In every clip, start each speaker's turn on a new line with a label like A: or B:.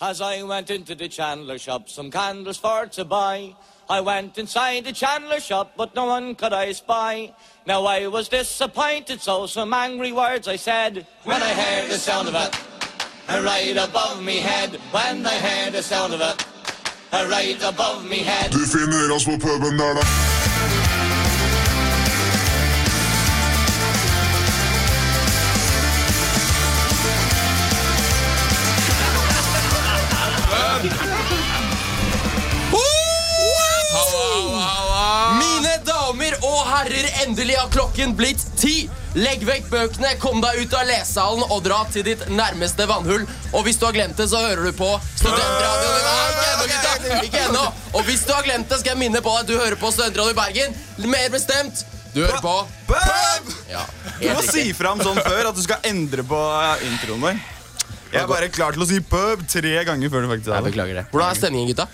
A: As I went into the chandler shop, some candles for to buy. I went inside the chandler shop, but no one could I spy. Now I was disappointed, so some angry words I said. When I heard the sound of it, right above me head. When I heard the sound of it, right above me head.
B: Du finner oss på puben der, da.
C: Mine damer og herrer, endelig har klokken blitt ti. Legg vekk bøkene, kom deg ut av lesesalen og dra til ditt nærmeste vannhull. Og hvis du har glemt det, så hører du på Studentradioen i dag. Ikke ennå, gutta. Ikke ennå. Og hvis du har glemt det, skal jeg minne på at du hører på Studentradioen i Bergen. Mer bestemt, du hører på
D: Pub!
C: Ja,
D: Du må
C: helt
D: si
C: riktig.
D: fram sånn før at du skal endre på eh, introen vår. Jeg er bare klar til å si pub tre ganger før du faktisk
C: Jeg
D: er
C: beklager det. Hvordan er stemningen, gutta?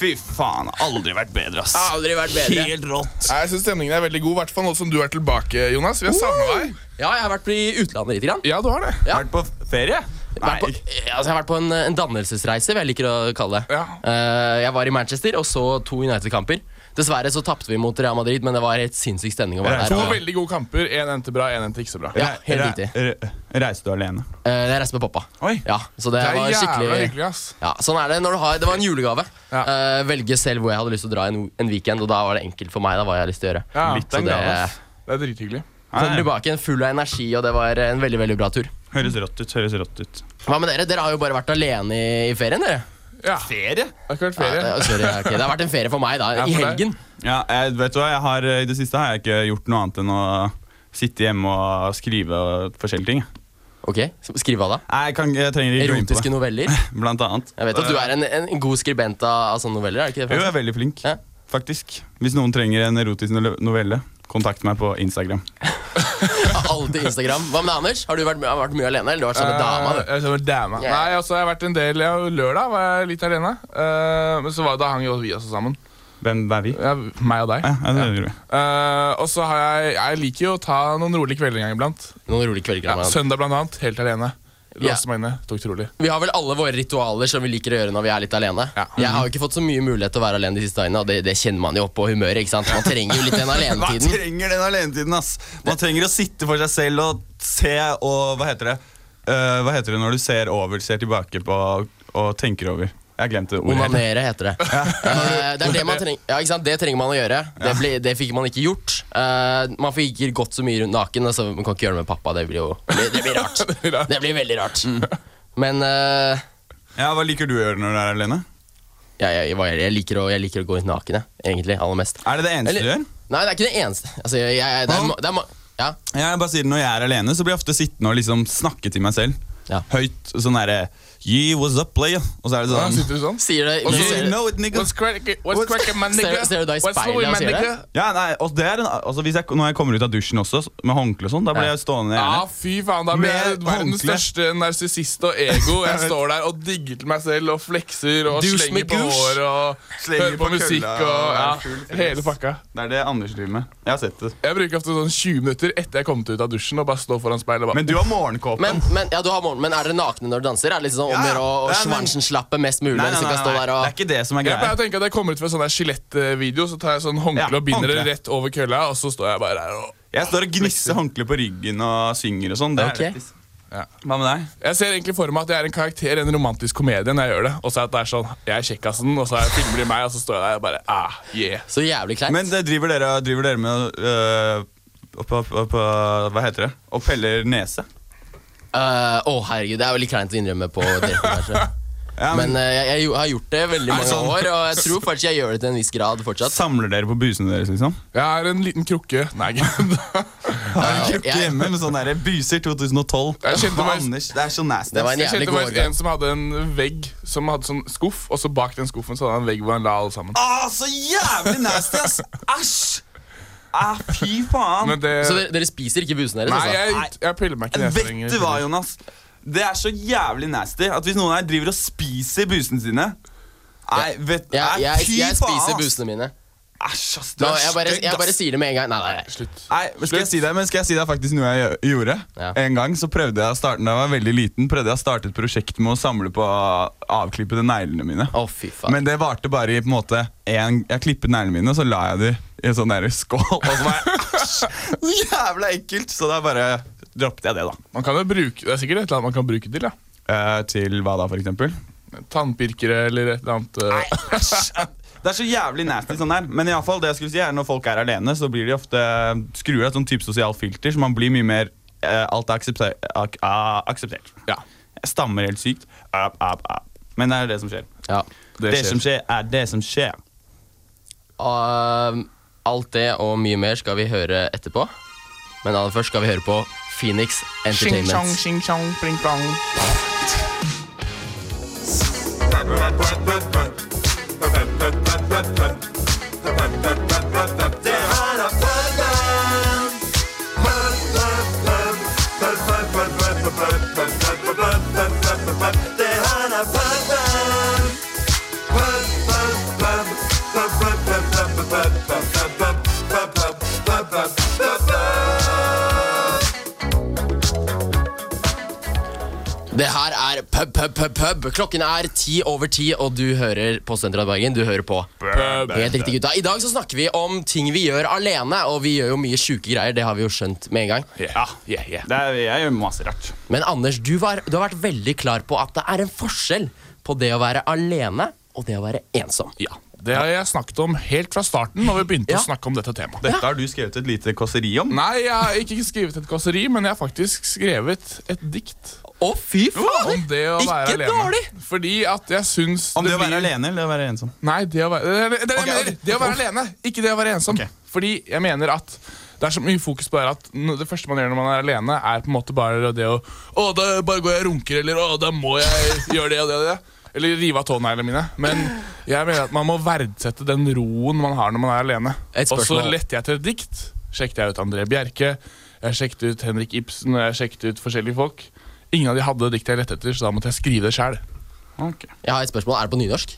D: Fy faen, aldri vært bedre, ass.
C: Aldri vært Ah, bedre.
D: Helt rått.
E: Nei, Jeg syns stemningen er veldig god, i hvert fall nå som du er tilbake, Jonas. Vi har savna deg.
C: Ja, jeg har vært i utlandet lite grann.
E: Ja, du har det.
C: Ja.
D: Vært på ferie? Nei.
C: Vært på, eh, altså jeg har vært på en, en dannelsesreise, vil jeg liker å kalle det.
E: Ja.
C: Eh, jeg var i Manchester og så to United-kamper. Dessverre så tapte vi mot Real Madrid, men det var helt sinnssyk stemning. å være
E: To
C: der. Og-
E: veldig gode kamper. Én endte bra, én endte ikke så bra.
C: Ja, helt
D: Re-
C: riktig.
D: re- Reiste du alene?
C: Eh, jeg reiste med pappa.
D: Oi.
C: Ja, så det,
E: Det
C: var
E: er jævla
C: skikkelig
E: hyggelig, ass.
C: ja, Sånn er det når du har Det var en julegave.
E: Ja.
C: Eh, velge selv hvor jeg hadde lyst til å dra en, en weekend, og da var det enkelt for meg. Da hva jeg hadde lyst til å gjøre
E: Ja,
D: Litt
C: Så
D: av en
C: det
D: gave, ass.
E: Det er drithyggelig.
C: kom
D: Nei,
C: tilbake igjen full av energi, og det var en veldig veldig bra tur.
D: Høres rått ut. høres rått ut
C: Hva med dere? Dere har jo bare vært alene i, i ferien, dere.
E: Ja, det
D: Ferie?
E: har ikke vært
C: Ja,
E: ferie.
C: det, altså, sorry, ok, det har vært en ferie for meg, da.
E: Ja,
C: I
E: for deg.
C: helgen.
D: Ja, jeg, vet du hva, jeg har, eh, I det siste har jeg ikke gjort noe annet enn å sitte hjemme og skrive og forskjellige ting.
C: Ok, Skriv hva da?
D: Nei, Jeg, kan, jeg trenger ikke gå inn på
C: Erotiske
D: det.
C: noveller.
D: Blant annet.
C: Jeg vet at du er en, en god skribent av, av sånne noveller. er det ikke det?
D: Jo, jeg
C: Frans?
D: er veldig flink,
C: Ja.
D: faktisk. Hvis noen trenger en erotisk no- novelle, kontakt meg på Instagram.
C: Alltid Instagram. Hva med deg, Anders? Har du vært, har vært mye alene? Eller du har vært sammen med dama? du?
E: Eh, jeg har vært dama.
C: Ja.
E: Nei, altså, jeg har vært en del ja, Lørdag var jeg litt alene. Eh, men så var, da hang jo vi også sammen.
D: Hvem er vi?
E: Ja, meg og deg.
D: Ja, ja, det gjør vi.
E: Eh, og så har jeg Jeg liker jo å ta noen rolige kvelder en gang iblant.
C: Noen rolige kvelder.
E: Ja,
C: Amanda.
E: søndag blant annet. Helt alene.
C: Ja.
E: Låste meg inne. Tok det rolig.
C: Vi har vel alle våre ritualer som vi liker å gjøre når vi er litt alene.
E: Ja.
C: Jeg har jo ikke fått så mye mulighet til å være alene de siste dagene, og det, det kjenner man jo på humøret. ikke sant? Man trenger jo litt den
D: Man
C: alenetiden.
D: trenger den alenetiden, ass. Man trenger å sitte for seg selv og se og Hva heter det? Eh, hva heter det når du ser over, ser tilbake på og tenker over? Jeg har glemt det ordet. helt.
C: Onanere heter det. Eh, det er det man trenger Ja, ikke sant? Det trenger man å gjøre. Det, ble, det fikk man ikke gjort. Eh, man fikk ikke gått så mye rundt naken, altså, man kan ikke gjøre det med pappa. Det blir jo Det, det blir rart. Det blir veldig rart.
D: Mm.
C: Men eh,
D: Ja, Hva liker du å gjøre når du er alene?
C: ja, jeg, hva er det? jeg, liker å, jeg liker å gå ut naken, jeg. Egentlig. Aller mest.
D: Er det det eneste
C: Eller-
D: du gjør?
C: Nei, det er ikke det eneste. Altså, jeg, jeg, det er, ma- det er, ma- ja.
D: Ja, jeg bare sier det, Når jeg er alene, så blir jeg ofte sittende og liksom snakke til meg selv.
C: Ja.
D: Høyt. Sånn derre Yeah, what's up, player? Og så er det
E: Ja,
D: sånn
E: sitter du sånn?
C: Sier det
E: Og så-
D: You know it, nigga.
E: What's cracking, what's cracking my
C: Ser-
E: nigga?
C: ser du deg i
E: What's
C: speilet
E: going,
C: og
E: my
C: sier det?
E: nigga?
D: Ja, nei, og det er en, altså hvis jeg, Når jeg kommer ut av dusjen også, s- med håndkle og sånn, da blir
C: Ja.
D: jeg stående
E: Ja,
D: gjerne.
E: Ah, fy faen, da blir jeg
D: Med
E: verdens
D: håndkle.
E: største narsissist og ego. Jeg står der og digger til meg selv og flekser og
C: Douche
E: slenger
C: med
E: på
C: douche.
E: hår og
D: Slenger
E: hører på,
D: på kølla
E: musikk
D: og
E: og ja,
D: er full fjes.
E: hele pakka.
D: Det er det Anders driver med. Jeg har sett det.
E: Jeg bruker ofte sånn 20 minutter etter jeg kom ut av dusjen og bare står foran speilet og bare
D: Men du har morgenkåpe.
C: Men, men, ja, du har morgen, men er dere nakne når dere danser? Er det liksom om
D: Ja, ja.
C: dere å- å
D: Nei, men-
C: svansen slappe mest mulig? så dere kan stå der
D: Det er
C: og...
D: ikke det som er
E: Jeg pleier
D: greia.
E: å tenke at jeg kommer ut fra sånn der skjelettvideo, så tar jeg sånn håndkle
D: Ja,
E: og binder det
D: håndkle.
E: rett over kølla, og så står jeg bare der og
D: Jeg står og gnisser håndkle på ryggen og synger og sånn. Det er
C: Ok.
D: lættis.
E: Ja.
D: Hva med deg?
E: Jeg ser egentlig for meg at jeg er en karakter i en romantisk komedie når jeg gjør det. Og så at det er sånn, jeg er kjekkasen, og så er- filmer de meg, og så står jeg der og bare ah, yeah.
C: Så jævlig kleint.
D: Men det driver dere, driver dere med øh, opp, opp, opp, eh, Hva heter det? Og peller nese?
C: Eh, Å, herregud, det er veldig kleint å innrømme på direkten, kanskje.
D: Ja,
C: Men
D: men,
C: eh, jeg, jeg har gjort det veldig mange
D: sånn?
C: år, og jeg tror faktisk jeg gjør det til en viss grad fortsatt.
D: Samler dere på busene deres, liksom?
E: Jeg har en liten krukke. Nei, gud.
D: Har du en
C: Ja,
D: krukke
C: jeg-
D: hjemme med sånn derre buser 2012?
E: Jeg kjente
D: Og
E: meg-
D: Anders, det er så nasty.
C: Det var en
E: Jeg
C: jævlig
E: kjente
C: god
E: faktisk en
C: overgang.
E: som hadde en vegg som hadde sånn skuff, og så bak den skuffen så hadde han en vegg hvor han la alle sammen.
D: Ah, så jævlig nasty, ass! Æsj! Ah, fy faen.
E: Men det
C: Så dere, dere spiser ikke busen deres?
E: Nei,
C: altså?
E: jeg, jeg piller meg ikke nesen
D: Vet
E: lenger.
D: du hva, Jonas? Det er så jævlig nasty at hvis noen her driver og spiser busene sine Nei, vet
C: Jeg, jeg, jeg,
D: Nei, fy faen,
C: spiser
D: ass.
C: busene mine.
D: Æsj, ass. Du
C: Nå,
D: er
C: jeg, bare,
D: stygg,
C: jeg bare
D: ass.
C: sier det med en gang. Nei, nei, nei.
E: Slutt.
D: Nei, men skal jeg si deg, men skal jeg si deg faktisk noe jeg gjø- gjorde?
C: Ja.
D: En gang så prøvde jeg å starte, da jeg var veldig liten, prøvde jeg å starte et prosjekt med å samle på avklippede neglene mine.
C: Å, fy faen.
D: Men det varte bare i på en måte en, Jeg klippet neglene mine, og så la jeg dem i en sånn der skål. Og så var jeg æsj! Så jævla ekkelt! Så da bare droppet jeg det, da.
E: Man kan jo bruke, det er sikkert et eller annet man kan bruke det til. ja.
D: Eh, til hva da, for eksempel?
E: Tannpirkere eller et eller annet. eh,
D: Det er så jævlig nasty sånn der. Men i alle fall, det jeg skulle si er når folk er alene, så blir de ofte skrur av et sånn type sosialt filter, så man blir mye mer eh, Alt er aksepter, ak, ah, akseptert.
E: Ja.
D: Jeg stammer helt sykt. Ap, ap, ap. Men det er det som skjer.
C: Ja.
D: Det, som skjer, er det som skjer.
C: Um, alt det og mye mer skal vi høre etterpå. Men aller først skal vi høre på Phoenix Entertainment. Det her er pub, pub, pub, pub. Klokken er ti over ti, og du hører på Sentra Bergen. Du hører på
E: Pub.
C: Helt riktig, gutta. I dag så snakker vi om ting vi gjør alene, og vi gjør jo mye sjuke greier. Det har vi jo skjønt med en gang.
E: Ja, yeah, yeah.
D: Det er, jeg gjør masse rart.
C: Men Anders, du, var, du har vært veldig klar på at det er en forskjell på det å være alene og det å være ensom.
E: Ja, Det har jeg snakket om helt fra starten når vi begynte å snakke om dette temaet.
D: Dette har du skrevet et lite kåseri om.
E: Nei, jeg har ikke skrevet et kåseri, men jeg har faktisk skrevet et dikt
C: Å, fy fader!
E: om det å
C: Ikke
E: være alene.
C: dårlig!
E: Fordi at jeg syns
D: Om det å
E: blir-
D: være alene eller å være ensom.
E: Nei, det å være, det, er det, det, er det, jeg
D: Ok,
E: mener.
D: ok.
E: det å være alene, ikke det å være ensom.
D: Ok.
E: Fordi jeg mener at det er så mye fokus på det her at n- det første man gjør når man er alene, er på en måte bare det å Å, da bare går jeg og runker, eller å, da må jeg gjøre det og det og det. Eller rive av tåneglene mine. Men jeg mener at man må verdsette den roen man har når man er alene.
C: Et
E: Og så
C: spørsmål.
E: lette jeg til et dikt. Sjekket jeg ut André Bjerke, jeg sjekket ut Henrik Ibsen, og jeg sjekket ut forskjellige folk. Ingen av de hadde det diktet jeg lette etter, så da måtte jeg skrive det sjæl.
C: Jeg har et spørmål. Er det på nynorsk?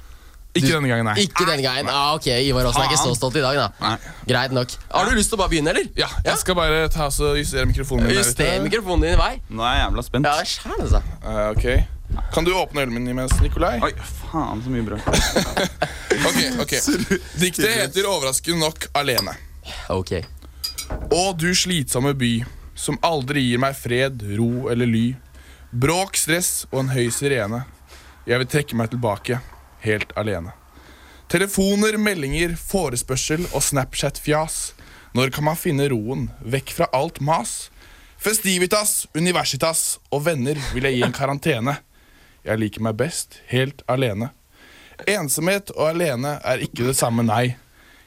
E: Ikke
C: Du-
E: denne gangen, nei.
C: Ikke denne gangen. Ah, ok, Ivar Aasen er ikke så stolt i dag, da.
D: Nei.
C: Greit nok. Har du lyst til å bare begynne, eller?
E: Ja, jeg skal bare ta så justere mikrofonen min. der ute.
C: Juster mikrofonen din i vei.
D: Nå er jeg jævla spent.
C: Ja, sjæl, altså.
E: Eh, ok. Kan du åpne ølen min imens, Nikolai?
D: Oi, faen, så mye brød.
E: Ok, ok. Diktet heter overraskende nok 'Alene'.
C: Ok.
E: Å, du slitsomme by, som aldri gir meg fred, ro eller ly. Bråk, stress og en høy sirene. Jeg vil trekke meg tilbake, helt alene. Telefoner, meldinger, forespørsel og Snapchat-fjas. Når kan man finne roen, vekk fra alt mas? Festivitas, Universitas og venner vil jeg gi en karantene. Jeg liker meg best helt alene. Ensomhet og alene er ikke det samme, nei.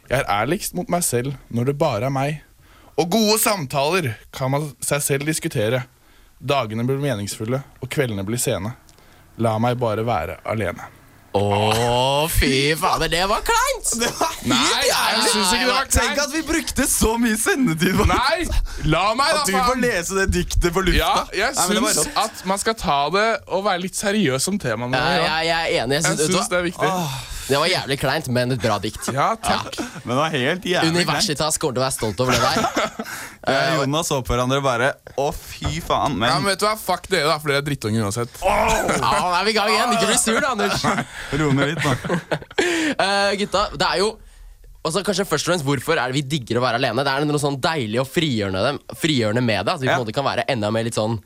E: Jeg er ærligst mot meg selv når det bare er meg. Og gode samtaler kan man seg selv diskutere. Dagene blir meningsfulle, og kveldene blir sene. La meg bare være alene.
C: Å, fy fader, det var kleint! Det var
E: Nei, jeg syns ikke det var
D: Tenk
E: kleint.
D: at vi brukte så mye sendetid på
E: Nei, la meg,
D: at du
E: da,
D: får
E: faen.
D: lese det diktet på lufta.
E: Ja, jeg
D: Nei, men det var
E: syns
D: rått.
E: at man skal ta det og være litt seriøs om temaene.
C: jeg,
E: Ja.
C: jeg er enig. Jeg
E: Jeg
C: synes, vet du
E: syns
C: hva?
E: det er viktig.
C: det var jævlig kleint, men et bra dikt.
E: Ja, takk.
D: Men det var helt jævlig.
C: Universitas kommer til å være stolt over det der.
D: kleint. Jeg og Jonas så på hverandre og bare Å, fy
E: Ja,
D: faen. Men
E: men vet du hva? Fuck dere, da, for dere er drittunger uansett.
C: Ja, nå er vi i gang igjen. Ikke bli sur, da, Anders.
D: ro ned litt, nå.
C: Eh, gutta, det er jo også kanskje først og fremst Hvorfor er det vi digger å være alene? Det er noe sånn deilig og frigjørende, dem- frigjørende med det. At vi på en
D: Ja.
C: måte kan være enda mer litt sånn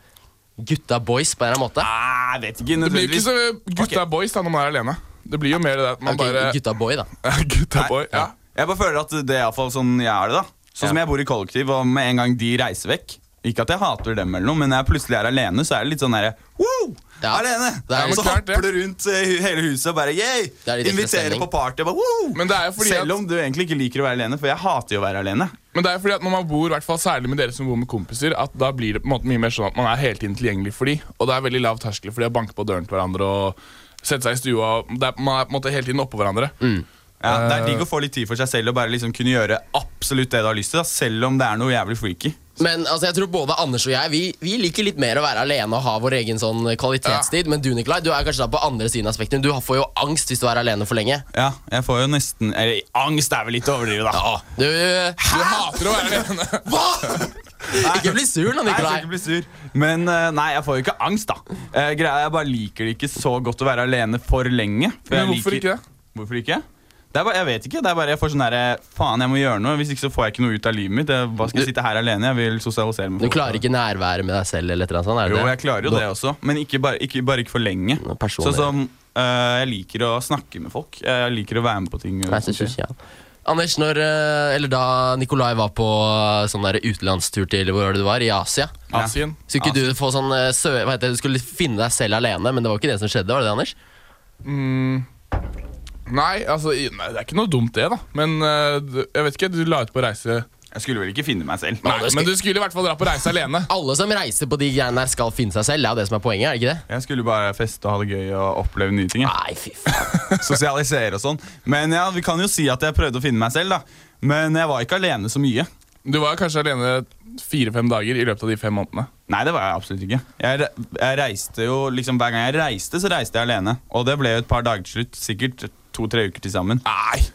C: gutta boys på en eller annen måte.
D: Nei, jeg Ah, vet
E: Det
D: ikke
E: blir jo ikke
D: nødvendigvis.
E: så gutta boys da når man er alene. Det blir jo mer det der at man
C: Ok,
E: bare
C: Gutta boy, da.
E: Gutta boy, ja.
D: Jeg bare føler at det er iallfall sånn jeg er det, da. Sånn som jeg bor i kollektiv, og med en gang de reiser vekk Ikke at jeg hater dem, eller noe, men når jeg plutselig er alene, så er det litt sånn derre Woo!
C: Ja.
D: Alene!
C: Det er
D: og så
E: jo klart, det.
D: hopper du rundt eh, hu- hele huset og bare
C: er
D: yeah!
C: litt ekstra
D: Inviterer
C: stemning.
D: på party. og Bare, Woo!
E: Men det er jo fordi at-
D: Selv om du egentlig ikke liker å være alene, for jeg hater jo å være alene.
E: Men det er jo fordi at når man bor, i hvert fall særlig med dere som bor med kompiser, at da blir det på en måte mye mer sånn at man er hele tiden tilgjengelig for de, og det er veldig lav terskel for de å banke på døren til hverandre og sette seg i stua. og Det er, man er på en måte hele tiden oppå hverandre.
D: Ja,
E: Eh.
D: Det er digg å få litt tid for seg selv og bare liksom kunne gjøre absolutt det du har lyst til. Da, selv om det er noe jævlig freaky.
C: Men altså, jeg tror både Anders og jeg Vi, vi liker litt mer å være alene og ha vår egen sånn kvalitetstid. Men du Nikolai, du er kanskje da på andre siden av spektrum. Du får jo angst hvis du er alene for lenge.
D: Ja, jeg får jo nesten Eller angst er vel litt å overdrive, da.
C: Du,
E: Du hater å være alene.
C: Hva?! Ikke bli sur nå,
D: Nei, jeg skal
C: Nikolai.
D: ikke bli sur. Men eh, nei, jeg får jo ikke angst, da. Eh, greia er Jeg bare liker det ikke så godt å være alene for lenge. for
E: Men
D: jeg
E: hvorfor
D: liker-
E: ikke det?
D: Hvorfor ikke? Det er bare, jeg vet ikke. Det er bare jeg får sånn derre Faen, jeg må gjøre noe. Hvis ikke så får jeg ikke noe ut av livet mitt. Jeg, hva skal jeg sitte her alene? Jeg vil sosialisere med
C: Du klarer ikke nærværet med deg selv? eller et eller annet sånt, er det
D: Jo,
C: det?
D: jeg klarer jo det også, men ikke bare ikke, bare ikke for lenge.
C: Nå, personlig.
D: Sånn som eh, Jeg liker å snakke med folk. Jeg liker å være med på ting. og
C: Nei, så
D: sånt.
C: synes jeg. Anders, når, eh, eller da Nikolai var på eh, sånn der utenlandstur til hvor var det du var, i Asia
E: Asien.
C: Skulle ikke du få sånn eh, sø, hva heter det, Du skulle finne deg selv alene, men det var ikke det som skjedde? var det det, Anders?
E: Nei, altså, i- nei, det er ikke noe dumt det, da. Men eh, du- jeg vet ikke, du la ut på reise
D: Jeg skulle vel ikke finne meg selv.
E: Nei,
C: det skal-
E: Men du skulle i hvert fall dra på reise alene.
C: Alle som reiser på de greiene der, skal finne seg selv. Det er jo det som er poenget, er det ikke det?
D: Jeg skulle bare feste og ha det gøy og oppleve nye ting. jeg.
C: Nei, fy faen.
D: Sosialisere og sånn. Men ja, vi kan jo si at jeg prøvde å finne meg selv, da. Men jeg var ikke alene så mye.
E: Du var kanskje alene fire-fem dager i løpet av de fem månedene.
D: Nei, det var jeg absolutt ikke. Jeg, re- jeg reiste jo, liksom Hver gang jeg reiste, så reiste jeg alene. Og det ble jo et par dager til slutt. Sikkert to-tre uker til sammen.
E: Nei,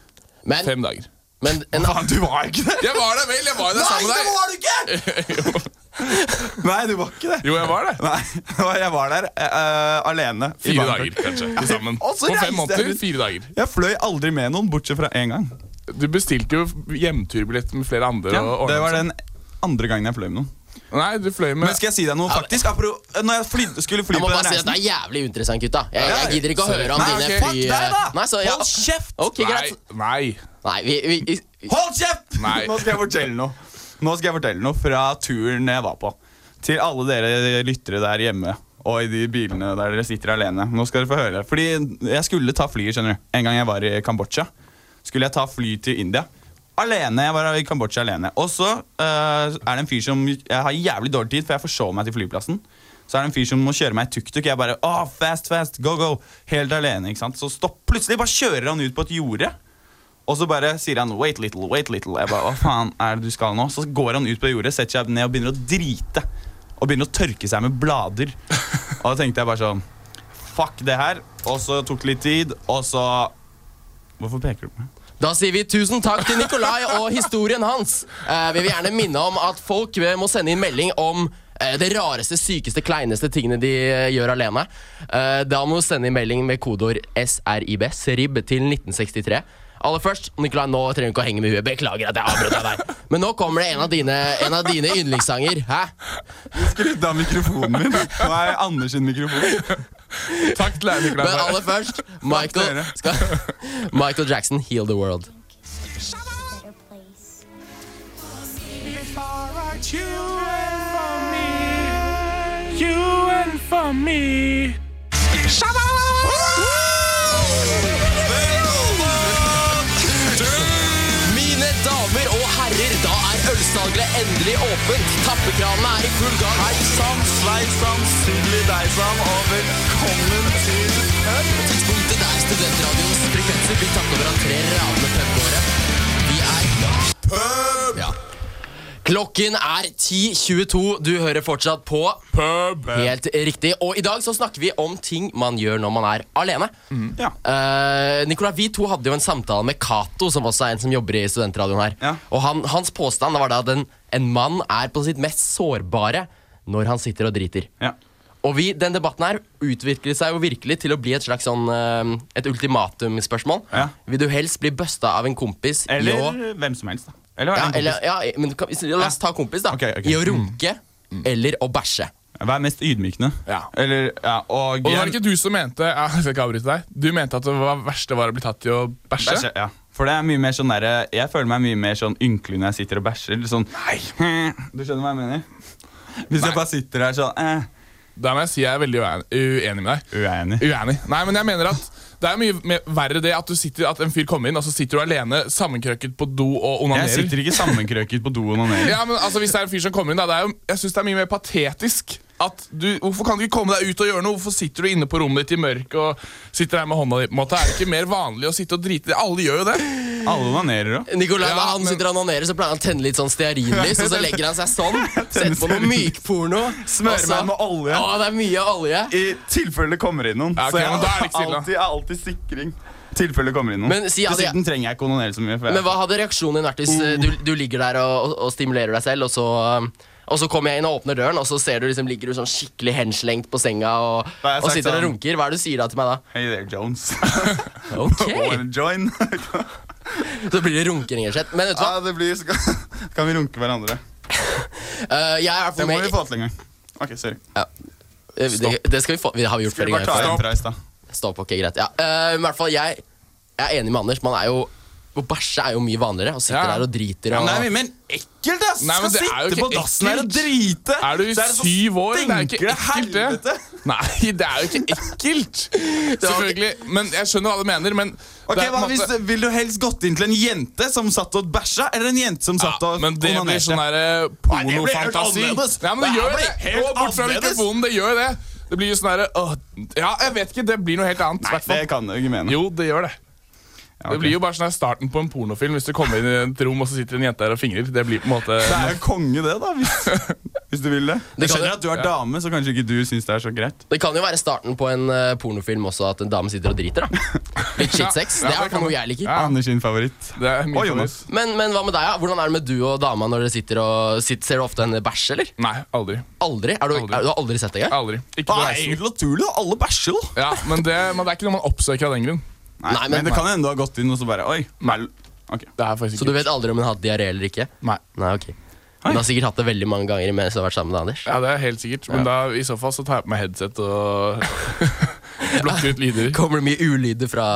C: Men,
E: fem dager.
C: men en,
D: Faen, du var ikke det!
E: Jeg var der vel! Jeg var jo der sammen med deg.
D: du ikke! Nei, du var ikke det.
E: Jo, jeg var det.
D: Nei, jeg var der eh, alene. i
E: Fire
D: Bangkok.
E: dager, kanskje. Til sammen.
D: Og så
E: På
D: reiste jeg
E: fem måneder,
D: rundt.
E: fire dager.
D: Jeg fløy aldri med noen, bortsett fra én gang.
E: Du bestilte jo hjemturbillett med flere andre. og ordnet
D: det var
E: sånn.
D: den andre gangen jeg fløy med noen.
E: Nei, du fløy med
D: Men skal jeg si deg noe, faktisk? Apro eh, når jeg fly skulle fly
C: jeg
D: på
C: må
D: den
C: bare si at
D: reisen
C: det er jævlig uinteressant, gutta. Jeg, jeg gidder ikke å
E: sorry.
C: høre om
D: Nei,
C: dine
D: ok. Fuck
C: fly... eh,
D: deg, da!
C: Nei, så, ja.
D: Hold kjeft!
C: Ok, greit.
E: Nei, nei.
C: Nei, vi, vi, vi
D: Hold kjeft!
E: Nei.
D: Nå skal jeg fortelle noe. Nå skal jeg fortelle noe fra turen jeg var på. Til alle dere lyttere der hjemme og i de bilene der dere sitter alene. Nå skal dere få høre. Fordi jeg skulle ta flyet, skjønner du. En gang jeg var i Kambodsja, skulle jeg ta fly til India. Alene, Jeg var i Kambodsja alene. Og så eh, er det en fyr som Jeg har jævlig dårlig tid, for jeg forsov meg til flyplassen. Så er det en fyr som må kjøre meg i tuk-tuk. Jeg bare åh, fast, fast, go, go. Helt alene. ikke sant? Så stopp. Plutselig bare kjører han ut på et jorde. Og så bare sier han 'wait little', wait little. Jeg bare, hva faen er det du skal nå? Så går han ut på jordet, setter seg ned og begynner å drite. Og begynner å tørke seg med blader. Og da tenkte jeg bare sånn Fuck det her. Og så tok det litt tid, og så Hvorfor peker du på meg?
C: Da sier vi tusen takk til Nikolai og historien hans. Eh, vi vil gjerne minne om at folk eh, må sende inn melding om eh, det rareste, sykeste, kleineste tingene de eh, gjør alene. Eh, da må du sende inn melding med kodeord SRIB, SRIB til 1963. Aller først, Nikolai, nå trenger du ikke å henge med huet. Beklager at jeg avbrøt deg der. Men nå kommer det en av dine, en av dine yndlingssanger. Hæ?
D: Skrudd av mikrofonen min. Nå er Anders sin mikrofon.
E: Takk til deg,
C: Men
E: Nicolai.
C: aller først, Michael,
D: dere.
C: skal, Michael Jackson, Heal the World. Mine damer og herrer, da er ølsalget endelig åpent. Tappekranene er i full gang. Hei sann,
D: Sveitsom, sidli deigsam, og velkommen til
C: tidspunktet der studentradioens frekvenser blir tatt over av tre radene pubgåere. Vi er
D: pub.
C: Ja. Klokken er 10.22. Du hører fortsatt på
D: Pub.
C: Helt riktig. Og i dag så snakker vi om ting man gjør når man er alene.
D: Ja.
C: Eh, Nicolai, vi to hadde jo en samtale med Cato, som også er en som jobber i studentradioen her.
D: Ja.
C: Og han, hans påstand var da at en, en mann er på sitt mest sårbare når han sitter og driter.
D: ja.
C: Og vi, den debatten her utviklet seg jo virkelig til å bli et slags sånn eh, Et ultimatumspørsmål.
D: Ja.
C: Vil du helst bli busta av en kompis i å
D: Eller hvem som helst, da. Eller hva
C: ja,
D: er det en
C: eller,
D: kompis?
C: ja, men kan, La oss ta kompis, da.
D: Ok, Mm. ok.
C: I å runke eller å bæsje.
D: Vær mest ydmykende.
E: Ja.
D: Eller, ja, og,
E: Og det var ikke du som mente ja, jeg skal ikke avbryte deg Du mente at det var verste var å bli tatt i å bæsje.
D: Bæsje, ja. For det er mye mer sånn der, Jeg føler meg mye mer sånn ynkelig når jeg sitter og bæsjer. eller Sånn, du skjønner hva jeg mener? Hvis jeg bare sitter her sånn eh,
E: Der må jeg si jeg er veldig uen- uenig med deg.
D: Uenig.
E: Uenig. Nei, men jeg mener at det er mye mer verre det at, du sitter, at en fyr kommer inn, og så sitter du alene sammenkrøkket på do og
D: Jeg
E: onanerer.
D: sitter ikke sammenkrøket på do og onanerer.
E: Ja, men altså Hvis det er en fyr som kommer inn, da det er jo, jeg synes det er mye mer patetisk. At du, Hvorfor kan du ikke komme deg ut og gjøre noe? Hvorfor sitter du inne på rommet ditt i mørket og sitter der med hånda di? på en måte? Er det ikke mer vanlig å sitte og drite? Alle gjør jo det.
D: Alle onanerer òg.
C: Nicolai,
E: Ja,
C: når han
E: men-
C: sitter og onanerer, så pleier han å tenne litt sånn stearinlys, og så legger han seg sånn, setter på noe mykporno.
D: Smører
C: og så-
D: meg med olje.
C: Å, det er mye olje.
D: I tilfelle det kommer inn noen.
E: Ja, ok,
D: så jeg
E: men da er det ikke stille.
D: alltid, alltid sikring. Tilfelle det kommer inn noen.
C: Men si at jeg-
D: Dessuten trenger jeg ikke onanere så mye. For jeg...
C: Men hva hadde reaksjonen din vært hvis eh, du,
D: Oh.
C: du ligger der og, og, og stimulerer deg selv, og så, um, og så kommer jeg inn og åpner døren, og så ser du liksom, ligger du sånn skikkelig henslengt på senga og,
D: Da har jeg
C: og
D: sagt
C: sitter og
D: sånn-
C: runker? Hva er det du sier da til meg da?
D: Hey there, Jones.
C: Ok,
D: Wanna join?
C: Så blir det runking, rett og slett. Men vet du hva?
D: ja, det blir så Kan vi runke hverandre?
C: Eh, jeg er i hvert
D: Det
C: fall
D: må
C: med
D: vi få til en gang. Ok, sorry.
C: Eh, det, det skal vi få. Det har vi gjort
D: Skal
C: flere
D: vi bare
C: ganger.
D: ta
C: før.
D: en fra i stad?
C: Stopp, ok, greit. Ja. eh, men i hvert fall, jeg, jeg er enig med Anders. Man er jo Å bæsje er jo mye vanligere. Og sitter
E: Ja.
C: der og driter og
D: Nei, men- men ekkelt, ass!
E: Nei, men
D: Skal
E: det er jo
D: sitte
E: ikke
D: på dassen her og
E: ekkelt.
D: drite!
E: Er du
D: Så det så
E: syv år? Det er ikke
D: stinker det
E: ekkelt, det.
D: helvete.
E: Nei, det er jo ikke ekkelt! Selvfølgelig. Men jeg skjønner hva du mener, men
D: Ok,
E: det er på
D: hva
E: en
D: hvis,
E: måte-
D: Vil du helst gått inn til en jente som satt og bæsja, eller en jente som satt
E: ja,
D: og
E: men det blir sånn
D: onanerte?
E: derre
D: det blir helt
E: pornofantasi.
D: annerledes.
E: Ja, men det
D: Det
E: gjør
D: her
E: det.
D: blir helt
E: Og bort fra
D: annerledes.
E: mikrofonen, det gjør det. Det blir jo sånn derre åh, Ja, jeg vet ikke. Det blir noe helt annet.
D: Nei, det
E: hvertfall.
D: kan du ikke mene.
E: Jo, det gjør det.
D: Ja,
E: Det
D: ok.
E: blir jo bare sånn her starten på en pornofilm hvis du kommer inn i et rom og så sitter en jente der og fingrer. Det blir på en måte
D: Det er jo konge, det, da, hvis, hvis du vil det.
C: Det
D: Jeg
C: kan
D: skjønner
C: det.
D: at du er dame, så kanskje ikke du syns det er så greit.
C: Det kan jo være starten på en eh, pornofilm også, at en dame sitter og driter. da Litt shitsex. Det
E: Ja,
C: er
E: ja,
C: i
E: det
C: hvert
E: kan
C: fall noe
E: det.
C: jeg liker.
E: Ja.
D: Anders sin favoritt.
E: Det er min
D: Og Jonas.
E: favoritt.
C: Men, men hva med deg? ja? Hvordan er det med du og dama når dere sitter og sitter, Ser du ofte henne bæsje, eller?
E: Nei, aldri.
C: Aldri? Er du,
E: Aldri.
C: Er, du har aldri sett det engang?
E: Aldri. Ikke på
D: Det er
E: reisen.
D: egentlig Ah, naturlig, da. alle bæsjer, da.
E: Ja, men det, men det er ikke noe man oppsøker av den grunn.
D: Nei,
C: Nei, men-
D: men, det kan hende du har gått inn og så bare Oi. Mel. Ok.
E: Det er faktisk
C: Så
E: ikke
C: du vet aldri om hun har hatt diaré eller ikke?
E: Nei.
C: Nei, ok Hun har sikkert hatt det veldig mange ganger mens du har vært sammen med Anders.
E: Ja, det er helt sikkert. Men da, i så fall så tar jeg på meg headset og blokker ut lyder.
C: Kommer det mye ulyder fra,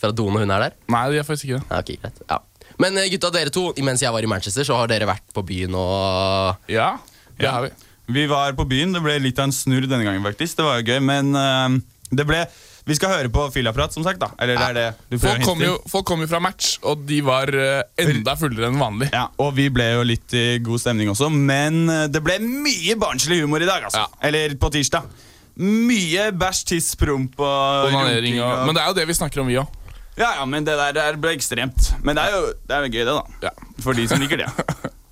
C: fra doen når hun er der?
E: Nei, det gjør faktisk ikke det.
C: Ja, ok, greit ja. Men eh, gutta, dere to, mens jeg var i Manchester, så har dere vært på byen og
E: Ja, det har vi.
D: Vi var på byen. Det ble litt av en snurr denne gangen, faktisk. Det var jo gøy, men eh, det ble Vi skal høre på Filaprat, som sagt, da. Eller det er det du får
E: Folk
D: hint
E: kom,
D: til.
E: jo, folk kom jo fra match, og de var eh, enda fullere enn vanlig.
D: Ja, og vi ble jo litt i god stemning også, men eh, det ble mye barnslig humor i dag, altså.
E: Ja.
D: Eller på tirsdag. Mye bæsj, tiss, promp og
E: Onanering
D: runking
E: og Men det er jo det vi snakker om, vi òg.
D: Ja, ja, men det der er- ble ekstremt. Men det er jo det er jo gøy, det, da.
E: Ja.
D: For de som liker det.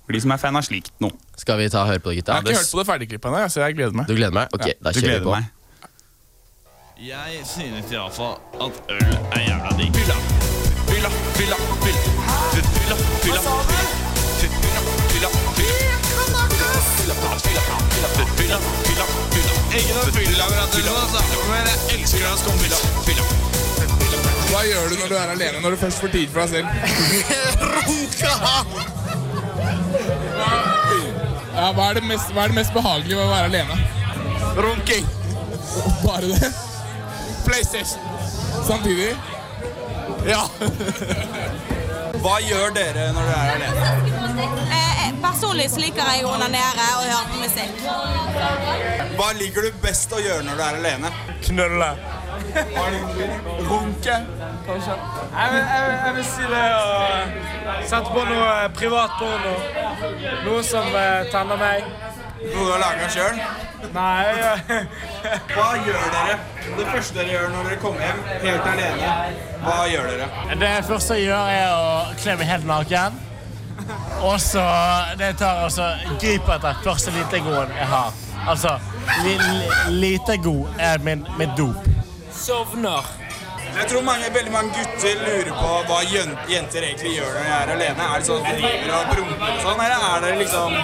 D: For de som er fan av slikt nå.
C: Skal vi ta og høre på det,
E: Jeg
C: gutta?
E: har ikke hørt på det ferdigklippet ennå, så jeg gleder meg.
C: Du gleder meg? Ok, da kjører
D: Du
C: vi
D: gleder
C: på.
D: meg.
F: Jeg synes iallfall at øl er jævla digg. Fylla, fylla, fylla, fylla. Fylla, fylla, fylla. Ikke noe fyllagratis, altså. Men jeg elsker deg som fylla. Fylla.
E: Hva gjør du når du er alene, når du først får tid for deg selv? Ja, hva, er det mest, hva er det mest behagelige med å være alene?
F: Runking.
E: Bare det?
F: PlayStation.
E: Samtidig?
F: Ja.
D: Hva gjør dere når dere er alene?
G: Eh, Personlig så liker jeg å onanere og høre på musikk.
D: Hva liker du best å gjøre når du er alene?
F: Knølle. Runke, kanskje. Jeg vil, jeg, vil, jeg vil si det å sette på noe privat porno. Noe som eh, tenner meg.
D: Noe du har laga sjøl?
F: Nei, jeg-
D: Hva gjør dere? Det første dere gjør når dere kommer hjem helt alene, hva gjør dere?
H: Det første jeg gjør, er å kle meg helt naken. Og så det tar altså griper etter første lite goen jeg har. Altså li, li, lite god er min, mitt dop.
D: Jeg tror mange, veldig mange gutter lurer på hva jøn- jenter egentlig gjør når de er alene. Er det sånn at de driver og brummer og sånn, eller er det liksom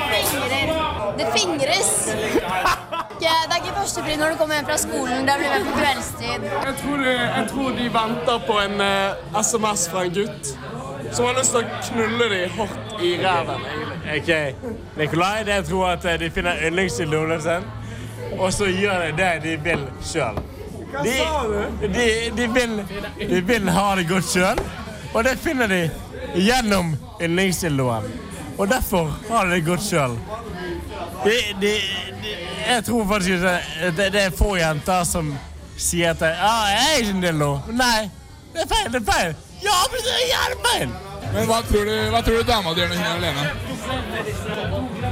I: Fingrer. Det fingres. Ikke- Det er ikke førstepri når du kommer hjem fra skolen. Det blir mer på kveldstid.
J: Jeg tror, jeg tror de venter på en eh, SMS fra en gutt som har lyst til å knulle de hardt i ræven.
H: Ok, Nikolai, det jeg tror at eh, de finner yndlingsdildoen sin, og så gjør de det de vil sjøl. De, de, de, vil, de vil ha det godt sjøl, og det finner de gjennom yndlingsdildoen. Og derfor har de det godt sjøl. De, de, de, jeg tror faktisk ikke det, det er få jenter som sier at ah, 'Jeg er ikke en dildo'. Nei, det er feil. det er feil. Ja, men det er jævlig feil!
E: Men hva tror du, hva tror du dama di gjør når hun er alene?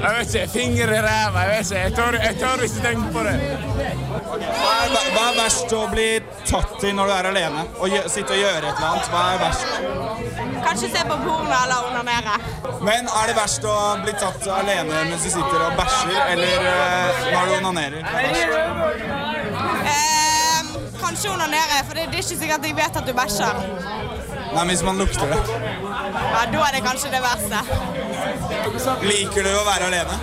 J: Jeg vet ikke. Finger i ræva. Jeg vet ikke. Jeg tør, jeg tør ikke tenke på det.
D: Hva, hva, hva er verst å bli tatt i når du er alene? Å gjø- sitte og gjøre et eller annet? Hva er verst?
G: Kanskje se på porno eller onanere.
D: Men er det verst å bli tatt alene mens du sitter og bæsjer, eller eh, når du onanerer?
G: Ehm, kanskje onanere, for det, det er ikke sikkert jeg vet at du bæsjer.
D: Nei, men hvis man lukter det.
G: Ja, Da er det kanskje det verste.
D: Liker du å være alene?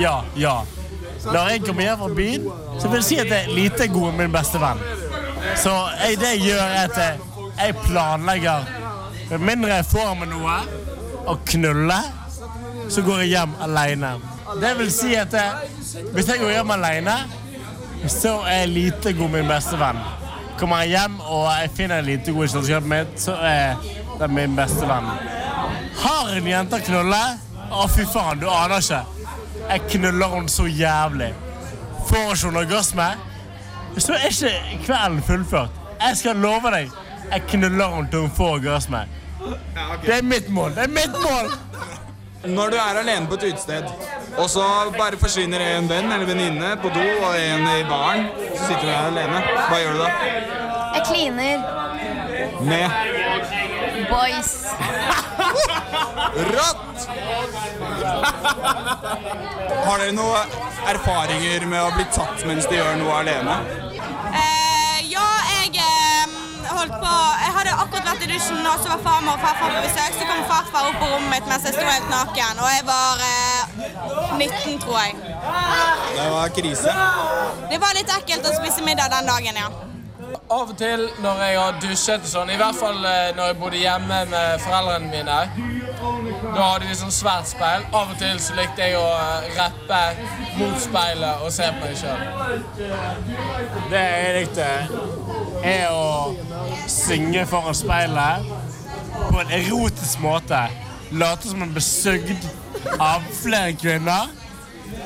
H: Ja, ja. Når jeg kommer hjem fra byen, så vil jeg si at jeg er lite god med min beste venn. Så jeg, det jeg gjør, er at jeg, jeg planlegger Med mindre jeg får med noe å knulle, så går jeg hjem alene. Det vil si at jeg, hvis jeg går hjem alene, så er jeg lite god med min beste venn. Kommer jeg hjem og jeg finner en lite god i kjøleskapet mitt, så er det min beste venn. Har en jente å knulle? Å, fy faen, du aner ikke. Jeg knuller henne så jævlig. Får ikke hun orgasme, så er ikke kvelden fullført. Jeg skal love deg, jeg knuller henne til hun får orgasme. Det er mitt mål. Det er mitt mål!
D: Når du er alene på et utested, og så bare forsvinner en venn eller venninne på do og en i baren, så sitter du der alene. Hva gjør du da?
I: Jeg kliner.
D: Med
I: Boys.
D: Rått! Har dere noen erfaringer med å bli tatt mens de gjør noe alene?
G: Eh, ja, jeg ehm, holdt på Jeg hadde akkurat vært i dusjen, og så var farmor og farfar på besøk. Så kom farfar opp på rommet mitt mens jeg sto helt naken, og jeg var eh, 19, tror jeg.
D: Det var krise.
G: Det var litt ekkelt å spise middag den dagen, ja.
K: Av og til når jeg har dusjet og sånn, i hvert fall eh, når jeg bodde hjemme med foreldrene mine, da hadde vi sånn svært speil. Av og til så likte jeg å eh, rappe mot speilet og se på meg sjøl.
H: Det jeg likte, er å synge foran speilet på en erotisk måte. Late som en ble sugd av flere kvinner.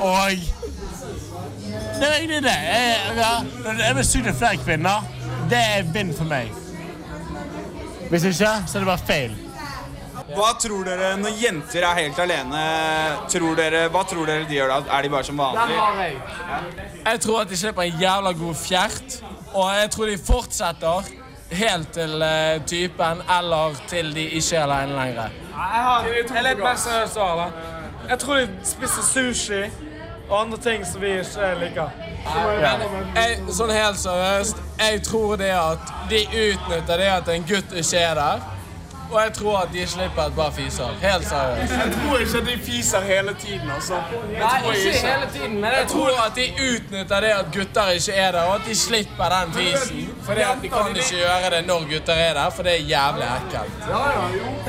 H: Og det er egentlig det. Jeg, ja, når jeg blir sugd av flere kvinner, det er vinn for meg. Hvis ikke, så er det bare feil.
D: Hva tror dere når jenter er helt alene? Tror dere, hva tror dere de gjør da? Er de bare som vanlig?
K: jeg. Jeg tror at de slipper en jævla god fjert, og jeg tror de fortsetter helt til eh, typen eller til de ikke er alene lenger.
J: Jeg har jeg er litt mer seriøs svar, da. Jeg tror de spiser sushi og andre ting som vi ikke liker.
K: Ja. Jeg, sånn helt seriøst, jeg tror det at de utnytter det at en gutt ikke er der. Og jeg tror at de slipper et par fiser. Helt
J: Jeg
K: seriøst.
J: tror ikke de fiser hele tiden, altså. Det
K: Nei,
J: tror jeg
K: ikke hele tiden, men jeg tror at de utnytter det at gutter ikke er der, og at de slipper den fisen. Fordi at de kan ikke gjøre det når gutter er der, for det er jævlig ekkelt.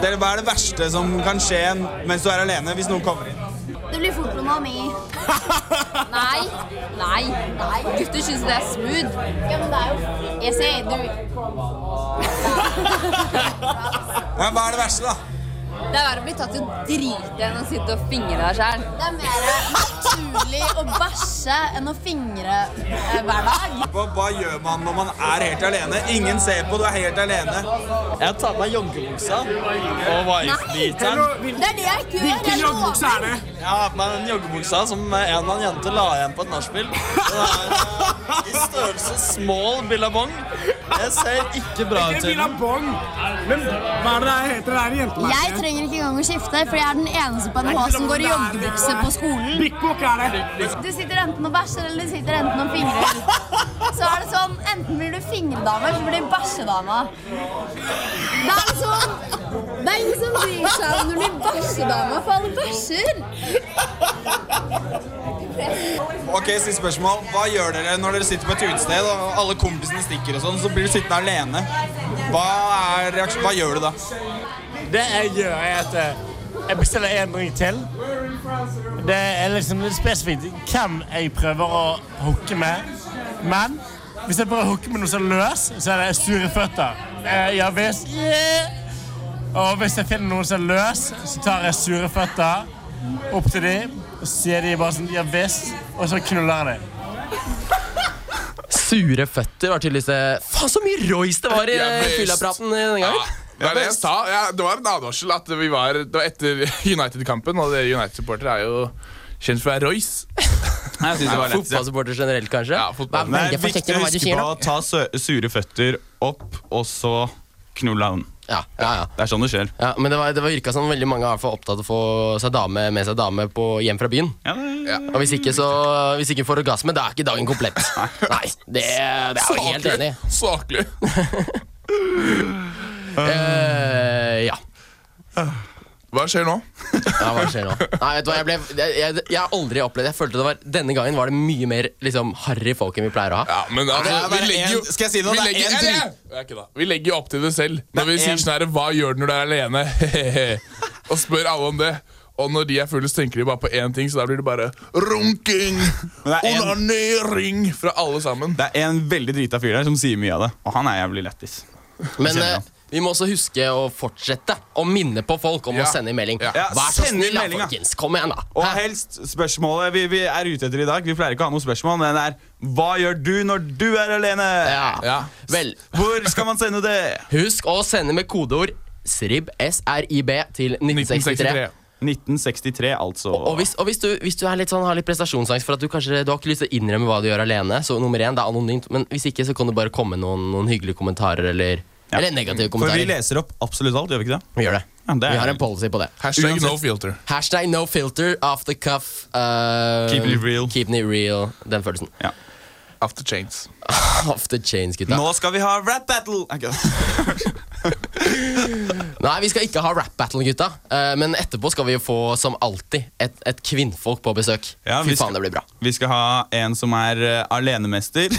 D: Dere, hva er det verste som kan skje mens du er alene, hvis noen kommer inn?
I: Det blir fort onani. Nei. Nei. Nei. Gutter syns det er smooth. Ja, men det er jo Jeg sier
D: Ja, hva er det verste, da?
L: Det er verre å bli tatt i å drite enn å sitte og fingre deg sjæl.
I: Det er mer naturlig å bæsje enn å fingre eh, hver dag.
D: Hva, hva gjør man når man er helt alene? Ingen ser på, du er helt alene. Jeg har tatt meg joggebuksa og
I: Det er det jeg ikke gjør. jeg lover.
D: er det? Jeg har på meg den joggebuksa som en eller annen jente la igjen på et nachspiel. Den er eh, i størrelse small billabong. Jeg ser ikke bra ut.
J: Ikke billabong. Men hva er det det heter det der
I: Jeg
J: jentemerket?
I: trenger ikke engang å skifte, for jeg er den eneste på NHH som går i joggebukse på skolen.
J: Bikkbukk er det.
I: Du sitter enten og bæsjer, eller du sitter enten og fingrer. Så er det sånn, enten blir du fingredame, eller så blir du bæsjedama. Det er liksom Det er ingen som bryr seg om du blir bæsjedama, for alle bæsjer.
D: Ok, siste spørsmål. Hva gjør dere når dere sitter på et utested og alle kompisene stikker og sånn, så blir du sittende alene? Hva er reaksjonen? Hva gjør du da?
H: Det jeg gjør, er at eh, jeg bestiller en drink til. Det er liksom litt spesifikt hvem jeg prøver å hooke med. Men hvis jeg prøver å hooke med noe som er løs, så er det sure føtter. Eh, Ja visst. Yeah. Og hvis jeg finner noen som er løs, så tar jeg sure føtter opp til dem. Og så sier de bare sånn ja visst, og så knuller jeg dem.
C: Sure føtter var tydeligvis det Faen, så mye Royce det var i
E: Ja,
C: eh,
E: visst.
C: fyllapraten denne gangen.
E: Det, er det, jeg sa. Ja, det var en advarsel at vi var Det var etter United-kampen, og dere United-supportere er jo kjent for å være Royce.
D: Jeg synes det var lett.
C: Fotballsupporter generelt, kanskje? Ja, fotball.
D: Det er viktig å huske på å ta sø- sure føtter opp, og så knulle han.
C: Ja, ja, ja.
D: Det er sånn det skjer.
C: Ja, men det, var, det var virka som veldig mange var opptatt av å få seg dame, med seg dame på, hjem fra byen. Ja. Og hvis ikke, så, hvis ikke får orgasme, da er ikke dagen komplett. Nei, det, det er jeg jo helt
E: Saklig.
C: enig i.
E: Saklig.
C: Eh, ja.
E: Hva skjer nå?
C: ja, hva skjer nå? Nei, vet du hva, jeg, ble, jeg, jeg, jeg har aldri opplevd Jeg følte det var Denne gangen var det mye mer liksom, harry folk enn vi pleier å ha. Ja,
E: Men altså, vi legger jo
D: Skal jeg si noe?
E: vi
D: Det er
E: legger-
D: en
E: Ja,
D: ting.
E: ja. Det er ikke det. Vi legger jo opp til det selv. Når vi
D: er en-
E: sier sånn her Hva gjør du når du er alene? og spør alle om det. Og når de er fulle, så tenker de bare på én ting, så da blir det bare runking! Onanering! Fra alle sammen.
D: Det er en veldig drita fyr der som sier mye av det, og han er jævlig lættis.
C: Men
D: Kjenner han.
C: eh, vi må også huske å fortsette å minne på folk om
D: Ja.
C: å sende inn melding.
D: Ja,
C: Vær så
D: send inn
C: snill, da,
D: melding, da.
C: folkens. Kom igjen, da.
D: Og helst spørsmålet vi, vi er ute etter i dag. Vi pleier ikke å ha noe spørsmål, men det er Hva gjør du når du er alene?
C: Vel,
D: Hvor skal man sende det?
C: Husk å sende med kodeord SRIB, SRIB til 1963.
D: 1963, altså.
C: Og hvis, og hvis, du, hvis du er litt sånn, har litt prestasjonsangst for at du kanskje du har ikke lyst til å innrømme hva du gjør alene, så nummer én, det er anonymt. Men hvis ikke, så kan det bare komme noen, noen hyggelige kommentarer eller, eller negative
D: For vi
C: kommentarer.
D: leser opp absolutt alt, gjør vi ikke det?
C: Vi gjør det.
D: Ja, det er-
C: Vi har en policy på det.
E: Hashtag no
C: Uansett.
E: filter.
C: Hashtag no filter, off the cuff uh,
D: Keep it real.
C: Keep it real, Den følelsen.
D: Ja.
E: Off the chains.
C: off the chains, gutta.
D: Nå skal vi ha rap battle! Ok.
C: Nei, vi skal ikke ha rap battle, gutta. Eh, men etterpå skal vi jo få, som alltid, et, et kvinnfolk på besøk.
D: Ja,
C: Fy
D: vi skal-
C: faen, det blir bra.
D: Vi skal ha en som er eh, alenemester.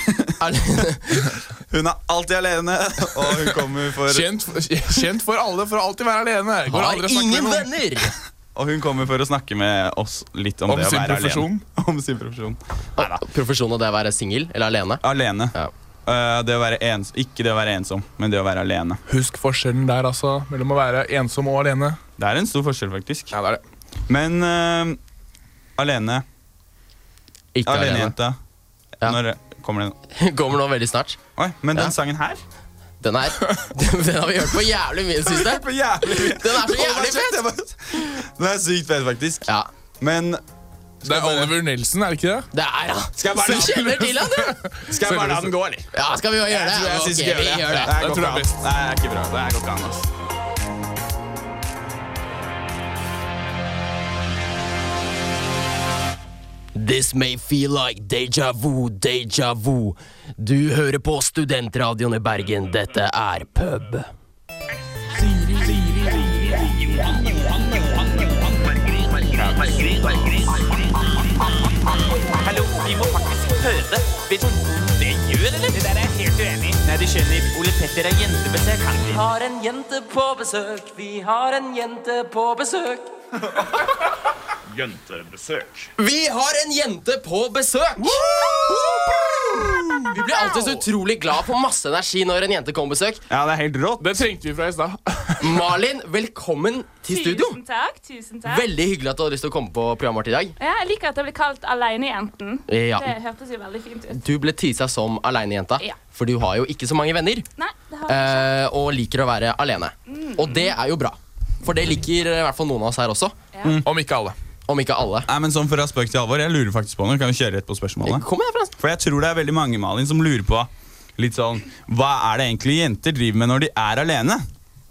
D: hun er alltid alene, og hun kommer for
E: Kjent, kjent for alle for å alltid være alene. Går aldri å snakke med noen.
D: Og hun kommer for å snakke med oss litt om,
E: Om
D: det å
E: sin
D: være
E: profesjon.
D: alene. Om sin profesjon.
C: Profesjon og det å være singel eller alene?
D: Alene. Eh, det å være ens ikke det å være ensom, men det å være alene.
E: Husk forskjellen der, altså. Mellom å være ensom og alene.
D: Det er en stor forskjell, faktisk.
E: Ja, det er det.
D: Men eh, alene
C: Ikke alene.
D: Alenejenta. Når kommer den?
C: Kommer nå veldig snart.
D: Oi, men den
C: Ja.
D: sangen her?
C: Den er Den har vi hørt på jævlig mye i det siste.
D: På jævlig mye.
C: Den er så jævlig
D: Det var- Den er sykt fet, faktisk.
C: Ja.
D: Men
E: Det er Oliver Nelson, er det ikke det?
C: Det er han.
D: Skal jeg bare
C: Du kjenner til han, du!
D: Skal jeg bare la den gå, eller?
C: Ja, skal vi jo gjøre det?
D: Jeg, tror jeg
C: Ok,
D: synes vi gjør
C: vi
D: det.
C: gjør det.
D: her
E: Jeg
D: går
E: tror det er
D: ikke an.
E: best.
D: Nei, det er ikke bra. Det her går ikke an, ass.
C: This may feel like deja vu, deja vu. Du hører på Studentradioen i Bergen. Dette er pub.
M: Hallo, vi må faktisk høre det. Vet du hva det gjør, eller? Det der er jeg helt uenig i. Nei, du skjønner, Ole Petter er jentebesøk. Han
N: Vi har en jente på besøk, vi har en jente på besøk.
F: Jentebesøk.
C: Vi har en jente på besøk! Vi blir alltid så utrolig glad for masse energi når en jente kommer på besøk.
D: Ja, det er helt rått.
E: Det trengte vi fra i stad.
C: Malin, velkommen til studio.
O: Tusen takk. tusen takk.
C: Veldig hyggelig at du hadde lyst til å komme på programmet vårt i dag.
O: Ja, jeg liker at jeg blir kalt alenejenten.
C: Ja.
O: Det hørtes jo veldig fint ut.
C: Du ble tisa som alenejenta,
O: Ja.
C: for du har jo ikke så mange venner.
O: Nei, det har jeg ikke.
C: eh, Og liker å være alene.
O: Mm.
C: Og det er jo bra. For det liker eh, i hvert fall noen av oss her også. Mm.
E: Om ikke alle.
C: Om ikke alle.
D: Nei, men sånn Fra spøk til alvor, jeg lurer faktisk på noe. Kan vi kjøre rett på spørsmålet?
C: Kom igjen, Frans.
D: For jeg tror det er veldig mange Malin, som lurer på litt sånn Hva er det egentlig jenter driver med når de er alene?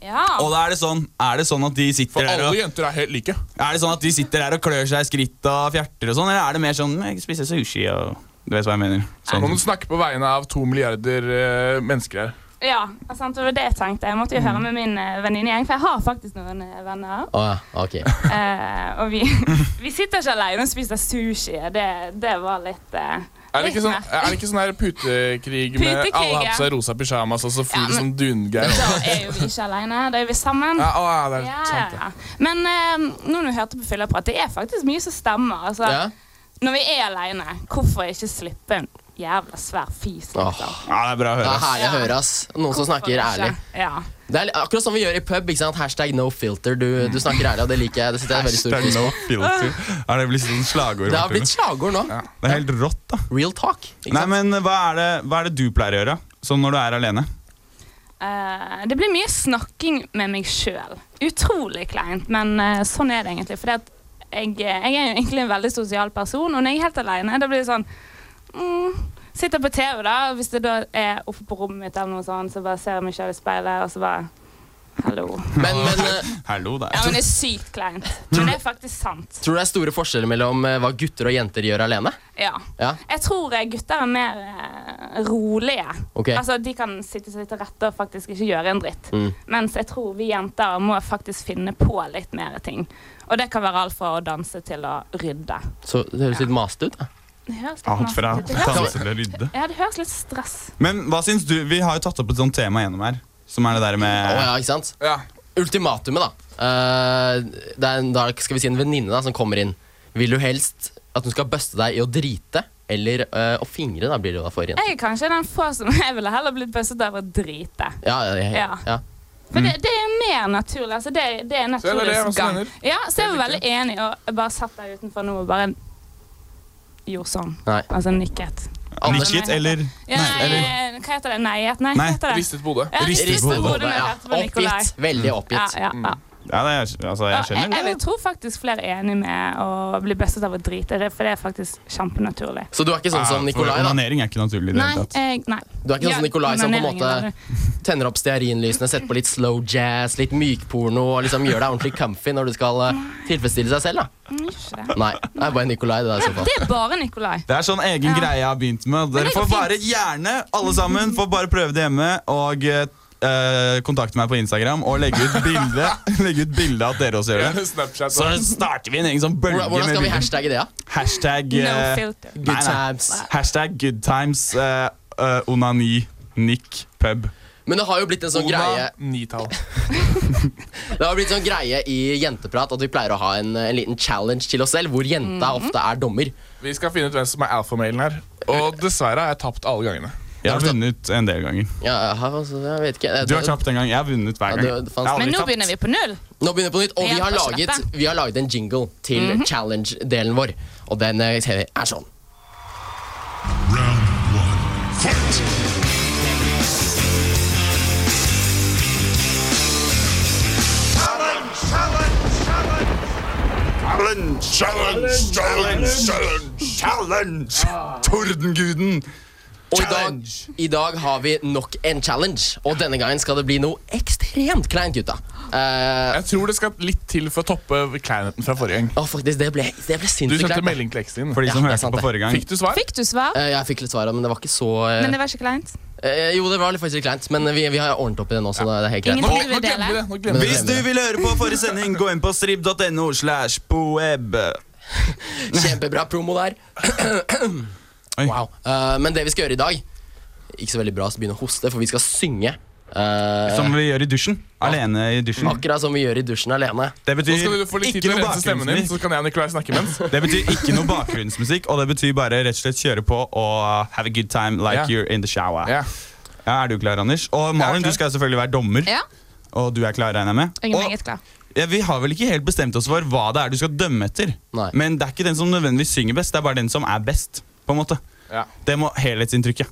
O: Ja.
D: Og da er det sånn Er det sånn at de sitter
E: For
D: der og
E: alle jenter er helt like.
D: Er det sånn at de sitter der og klør seg i skrittet og fjerter og sånn, eller er det mer sånn Jeg spiser sushi og Du vet hva jeg mener.
E: Nå må
D: Sånn.
E: du snakke på vegne av to milliarder eh, mennesker her.
O: ja, sant, det var det jeg tenkte. Jeg måtte jo høre med min eh, venninnegjeng, for jeg har faktisk noen eh, venner.
C: Å ja, ok.
O: Eh, og vi, vi sitter ikke alene og spiser sushi. Det, det var litt eh,
E: Er det
O: litt
E: ikke sånn,
O: merkelig.
E: er det ikke sånn her putekrig med
O: Putekrig,
E: alle har på
O: ja.
E: seg rosa pysjamas og så flyr det som dungeir?
O: Da er jo vi ikke alene, da er vi sammen.
E: Ja, å, ja, det er
O: Ja,
E: sant,
O: ja, ja. Men eh, nå når vi hørte på Fylleprat, det er faktisk mye som stemmer. Altså,
C: Ja.
O: Når vi er alene, hvorfor ikke slippe en jævla svær fis? liksom?
C: Åh.
D: Ja, det er bra å
C: Det
D: høre.
C: er herlig å
D: ass.
C: høre, ass. Noen som snakker
O: Hvorfor ikke?
C: ærlig.
O: Ja.
C: Det er li- akkurat som vi gjør i pub. ikke sant? Hashtag no filter. Du, du snakker ærlig, og det liker jeg. Det setter jeg veldig stor
D: Hashtag
C: pris
D: no
C: på.
D: filter. Er det blitt sånn slagord?
C: Det har
D: Martine?
C: blitt slagord nå.
D: Det er helt rått, da.
C: Real talk.
D: Nei, men hva er, det, hva er det du pleier å gjøre sånn når du er alene?
O: Eh, det blir mye snakking med meg sjøl. Utrolig kleint, men eh, sånn er det egentlig. For jeg, jeg er jo egentlig en veldig sosial person, og når jeg er helt alene, da blir det sånn mm, Sitter på TV, da, og hvis det da er oppe på rommet mitt, eller noe sånt, så bare ser jeg meg selv i speilet, og så bare Hallo.
C: Men, men eh,
D: Hallo der.
O: Ja, men det er sykt kleint. Men det er faktisk sant.
C: Tror du det er store forskjeller mellom eh, hva gutter og jenter gjør alene?
O: Ja.
C: Ja.
O: Jeg tror eh, gutter er mer eh, rolige.
C: Ok.
O: Altså, De kan sitte seg til rette og faktisk ikke gjøre en dritt.
C: Mm.
O: Mens jeg tror vi jenter må faktisk finne på litt mer ting. Og det kan være alt fra å danse til å rydde.
C: Så det høres litt masete ut. da.
O: Det høres litt
D: Alt
O: nasty
D: fra
O: ut. Det høres
D: danse
O: litt-
D: til å rydde.
O: Ja, det høres litt stress.
D: Men hva syns du? Vi har jo tatt opp et sånt tema gjennom her, som er det der med
C: Å ja, ikke sant? Ultimatumet, da. Eh, det er en, da skal vi si en venninne da, som kommer inn. Vil du helst at hun skal buste deg i å drite eller eh, å fingre? da blir det jo da for igjen.
O: Jeg er kanskje den få som jeg ville heller blitt bøsset av å drite.
C: Ja, ja, ja, ja.
O: Ja. For
C: Mm.
O: det, det er mer naturlig. altså Det, det er
E: Så eller
O: naturens
E: det, hva som
O: gang.
E: hender.
O: Ja, så jeg var veldig enig, og jeg bare satt der utenfor nå og bare gjorde sånn.
C: Nei.
O: Altså nikket.
D: Nikket eller
O: Ja,
D: Nei,
O: nei,
D: eller
O: eh, hva heter det? Neiet? Nei,
D: Nei,
O: hva heter det?
D: ristet hode.
O: Ja,
D: Ristet
O: ristet
D: hode.
O: hode,
D: Ja,
C: oppgitt. Veldig oppgitt.
O: Ja, ja, ja.
D: Ja, det er, altså, jeg
O: Jeg,
D: skjønner
O: jeg vil tro faktisk flere er enig med å bli bøsset av å drite, det- for det er faktisk kjempenaturlig.
C: Så du er ikke sånn som Nikolai,
D: For
C: da?
D: onanering er ikke naturlig i det
O: Nei,
D: hele tatt.
O: jeg, nei.
C: Du er ikke sånn som
O: Ja,
C: Nikolai som på en
O: onaneringen er det.
C: måte tenner opp stearinlysene, setter på litt slow jazz, litt mykporno og liksom gjør deg ordentlig comfy når du skal eh, tilfredsstille seg selv? da
O: Mm, ikke det.
C: Nei, det er bare Nikolai det der i så fall.
O: Det er bare Nikolai.
D: Det er sånn egen
O: Ja.
D: greie jeg har begynt med. Dere
O: det går
D: får bare
O: fint.
D: gjerne, alle sammen, får bare prøve det hjemme. Og eh, kontakte meg på Instagram og legge ut bilde Legge ut bilde av at dere også gjør det.
E: Snapchat.
D: Så starter vi en egen sånn bølge
C: Hvordan hvordan skal
D: med
C: vi
D: bilder.
C: hashtagge det, da?
D: Hashtag
C: No
D: eh,
C: filter.
D: nei,
C: Good
D: nei.
C: times.
D: Hashtag good times eh, eh, onani nikk pub.
C: Men det har jo blitt en sånn greie
E: Nitall.
C: Det har blitt sånn greie i jenteprat at vi pleier å ha en, en liten challenge til oss selv, hvor jenta
O: Mm.
C: ofte er dommer.
E: Vi skal finne ut hvem som er alfamailen her. Og dessverre har jeg tapt alle gangene.
D: Jeg har vunnet en del ganger.
C: Ja, jeg har- altså, jeg vet ikke
D: Du har tapt en gang. Jeg har vunnet hver
C: Ja,
D: gang.
C: det- det fanns-
D: Jeg har aldri
O: Men nå
D: tapt.
O: begynner vi på null.
C: Nå begynner vi på nytt, og vi har
O: Hjelp oss å
C: laget,
O: slette.
C: vi har laget en jingle til
O: Mhm.
C: challenge-delen vår, og den eh, er sånn.
B: Challenge, challenge, challenge, challenge, challenge.
D: Tordenguden!
C: Og i dag, i dag har vi nok en challenge, og denne gangen skal det bli noe ekstremt kleint, gutta. Eh,
E: Jeg tror det skal litt til for å toppe kleinheten fra forrige gang.
C: å, faktisk, det ble, det ble
E: Du
C: sinnssykt
E: sendte
C: kleint. da.
E: melding til eksen din.
D: For de som
C: Ja, det er
D: hørte
C: sant,
D: på
C: det.
D: forrige gang.
E: Fikk du svar?
O: Fikk du svar?
C: Eh, jeg fikk litt svar, men det var ikke så eh,
O: Men det var ikke kleint.
C: eh, Jo, det var litt faktisk litt kleint, men vi, vi har ordnet opp i det nå, så det, det er helt greit.
O: Ingenting du
E: Nå
O: vil
E: glemmer vi det.
O: dele?
E: Nå glemmer vi det.
D: Hvis du vil høre på forrige sending, gå inn på strib.no slash poeb.
C: Kjempebra promo der.
D: Oi.
C: Wow. Eh, men det vi skal gjøre i dag Ikke så veldig bra å begynne å hoste, for vi skal synge. eh,
D: Som vi gjør i dusjen. Alene i dusjen.
C: akkurat som vi gjør i dusjen alene.
D: Det
E: Nå
D: betyr
E: skal du få litt tid
D: ikke
E: til å
D: noe
E: rense stemmen din,
D: bakgrunnsmusikk.
E: så kan jeg og Nikolai snakke imens.
D: Det betyr ikke noe bakgrunnsmusikk, og det betyr bare rett og slett kjøre på og uh, have a good time
E: Ja.
D: like you're in the shower.
E: Ja.
D: Ja, er du klar, Anders? Og
E: Jeg er
D: Malin,
E: klar.
D: du skal selvfølgelig være dommer.
O: Ja.
D: Og du er klar, regner jeg med?
O: Jeg er
D: Og
O: meget klar.
D: ja, vi har vel ikke helt bestemt oss for hva det er du skal dømme etter.
C: Nei.
D: Men det er ikke den som nødvendigvis synger best, det er bare den som er best. på en måte.
E: Ja.
D: Det må helhetsinntrykket.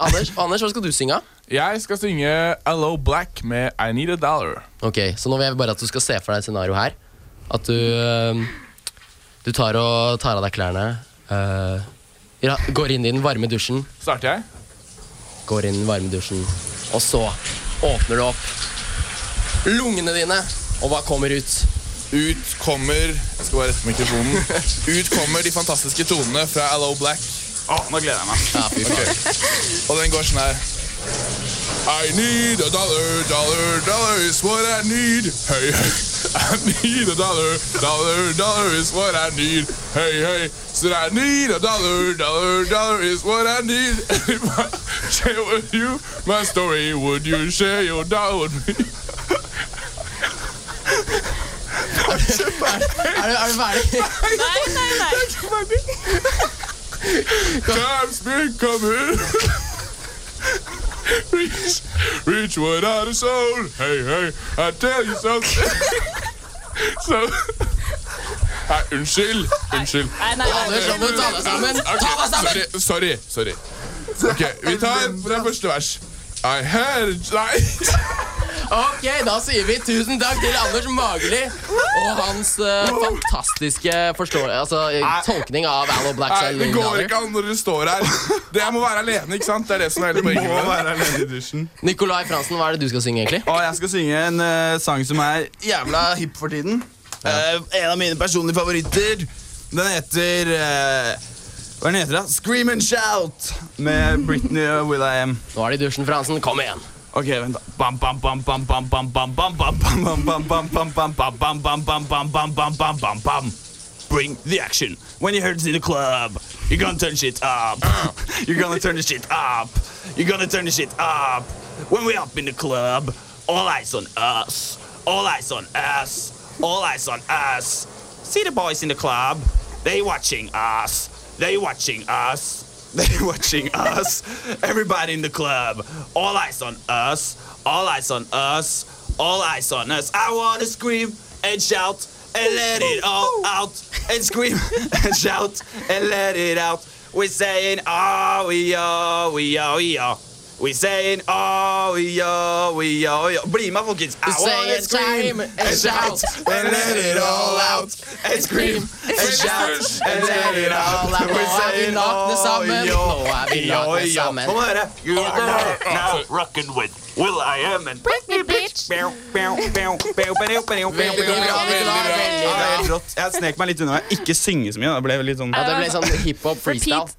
C: Anders, Anders, hva skal du synge? av?
E: Jeg skal synge Hello Black med I Need A Dollar.
C: Ok, Så nå vil jeg bare at du skal se for deg et scenario her. At du eh, Du tar, og, tar av deg klærne. eh, ja, går inn i den varme dusjen.
E: Starter jeg?
C: Går inn i den varme dusjen. Og så åpner du opp lungene dine, og hva kommer ut?
E: Ut kommer Jeg skal bare rette mikrofonen. Ut kommer de fantastiske tonene fra Hello Black.
D: Å, nå gleder jeg meg.
C: Ja, fy faen.
E: Og den går sånn her. I need a dollar, dollar, dollar is what I need. Hey, hey. I need a dollar, dollar, dollar is what I need. Hey, hey. So I need a dollar, dollar, dollar is what I need. If I share with you my story, would you share your dollar with me?
C: Er du, er du ferdig?
O: Nei, nei, nei.
E: Time's been coming. reach, reach without a soul. Hey, hey, I tell you something. so, Nei, unnskyld. Unnskyld.
O: nei, nei, nei.
C: Anders, nå må du ta deg sammen. Ta deg sammen!
E: Sorry. sorry, sorry. Ok, Vi tar fra første vers. I had a- Nei.
M: Ok, da sier vi tusen takk til Anders Mageli og hans eh, fantastiske forstå... Altså, eh, tolkning av Allo Black
E: Nei, det går ikke an når dere står her. Det, jeg må være alene, ikke sant? Det er det som er hele
F: Du må
E: poenget.
F: være alene i
E: dusjen.
M: Nikolai Fransen, hva er det du skal synge, egentlig?
F: Og jeg skal synge en eh, sang som er jævla hipp for tiden. Eh, en av mine personlige favoritter. Den heter eh, Hva den heter da? Scream and Shout med Britney og Will I Am.
M: Nå er det i dusjen, Fransen. Kom igjen.
F: Ok, vent da. Bam, bam, bam, bam, bam, bam, bam, bam, bam, bam, bam, bam, bam, bam, bam, bam, bam, bam, bam, bam, bam, bam, bam, bam. Bring the action. When you heard it's in the club, you're gonna turn shit up. You're gonna turn the shit up. You're gonna turn the shit up. When we up in the club, all eyes on us. All eyes on us. All eyes on us. See the boys in the club. They watching us. They watching us. They watching us. Everybody in the club. All eyes on us. All eyes on us. All eyes on us. I wanna scream and shout and let it all out. And scream and shout and let it out. We're saying oh we oh we oh we oh. We're saying oh we oh we oh we oh. Bli med, folkens. I wanna scream and shout and let it all out. And scream and shout and let it out. "Oh,
M: Nå er vi nakne sammen. Nå er vi nakne sammen.
F: Kom og høre. You are now rocking with Will I Am and Britney Bitch. Veldig bra, veldig bra. Jeg snek meg litt unna. Jeg ikke synge så mye. da. Det ble litt sånn
M: Ja, det ble sånn hiphop freestyle.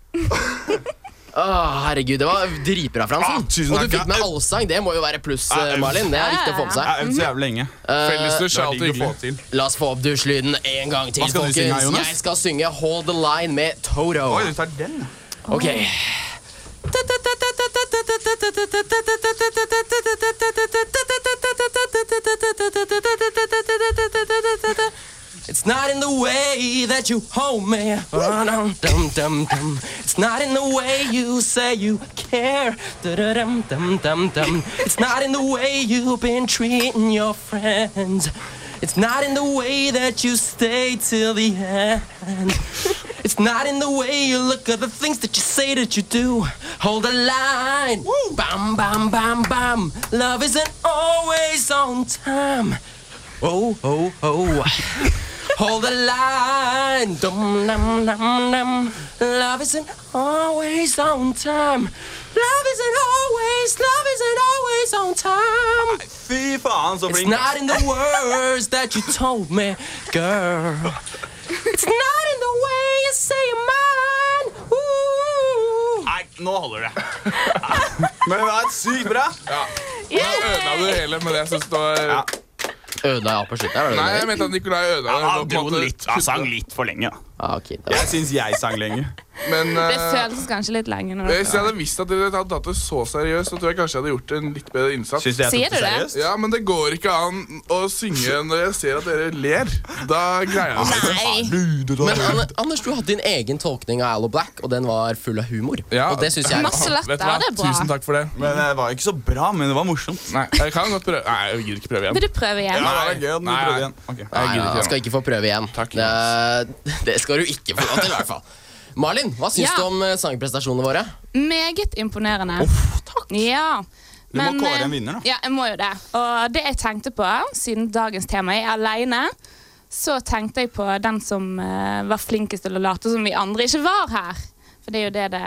M: Åh, herregud, det var dritbra, Fransen.
F: Ah, tusen
M: og du
F: takk.
M: fikk med allsang. Det må jo være pluss, eh,
F: Ah,
M: Malin. Det er viktig å få med
F: Jeg har øvd så
M: seg.
F: jævlig lenge.
M: Eh,
E: Fellesdusj er alltid hyggelig å få til.
M: La oss få opp dusjlyden en gang til,
E: Hva skal du
M: folkens.
E: synge, Jonas?
M: Jeg skal synge Hold the Line med Toto.
F: Oi, du tar den.
M: Ok. It's not in the way that you hold me. Dum, dum, dum, dum. It's not in the way you say you care. Dum, dum, dum, dum. It's not in the way you've been treating your friends. It's not in the way that you stay till the end. It's not in the way you look at the things that you say that you do. Hold the line. Bam, bam, bam, bam. Love isn't always on time. Oh, oh, oh. Hold the line. Dum, num, num, num. Love isn't always on time. Love isn't always, love isn't always on time.
F: Fy faen, så
M: It's
F: flink.
M: not in the words that you told me, girl. It's not in the way you say your mind. Ooh.
F: Nei, nå holder det. Men det var sykt bra.
E: Da ødela du det hele, men jeg synes det var
M: Ødela jeg på slutten?
E: Nei, jeg mente at Nikolai ødela det.
F: Ja, han dro den litt. Han sang litt for lenge. da.
M: Ah,
F: Jeg syns jeg sang lenge.
E: Men
O: Det
E: eh,
O: føles kanskje litt lenge nå.
E: hvis jeg hadde visst at dere hadde tatt det så seriøst, så tror jeg kanskje jeg hadde gjort en litt bedre innsats.
F: Synes du jeg tok
O: Sier det du det? seriøst?
E: Ja, men det går ikke an å synge når jeg ser at dere ler. Da greier jeg det ikke.
M: Men Anne- Anders, du hadde din egen tolkning av Allo Black, og den var full av humor. og det synes jeg
E: Vet du hva? Tusen takk for det.
F: Men det var ikke så bra, men det var morsomt.
E: Nei, jeg kan godt prøve. Nei, jeg gidder ikke prøve igjen.
O: Vil du prøve igjen?
E: Nei,
F: det er gøy at du
E: nei.
F: prøvde igjen. Ok.
E: Jeg
M: Nei,
E: gidder
M: han
E: ikke
M: skal
E: igjen.
M: ikke få prøve igjen. det, det skal du ikke få lov til, i hvert fall. Malin, hva syns
O: Ja.
M: du om eh, sangprestasjonene våre?
O: Meget imponerende. takk. Ja.
M: Du må kåre
O: eh,
M: en vinner, da.
O: Ja, jeg må jo det. Og det jeg tenkte på, siden dagens tema er aleine, så tenkte jeg på den som eh, var flinkest til å late som vi andre ikke var her. For det er jo det det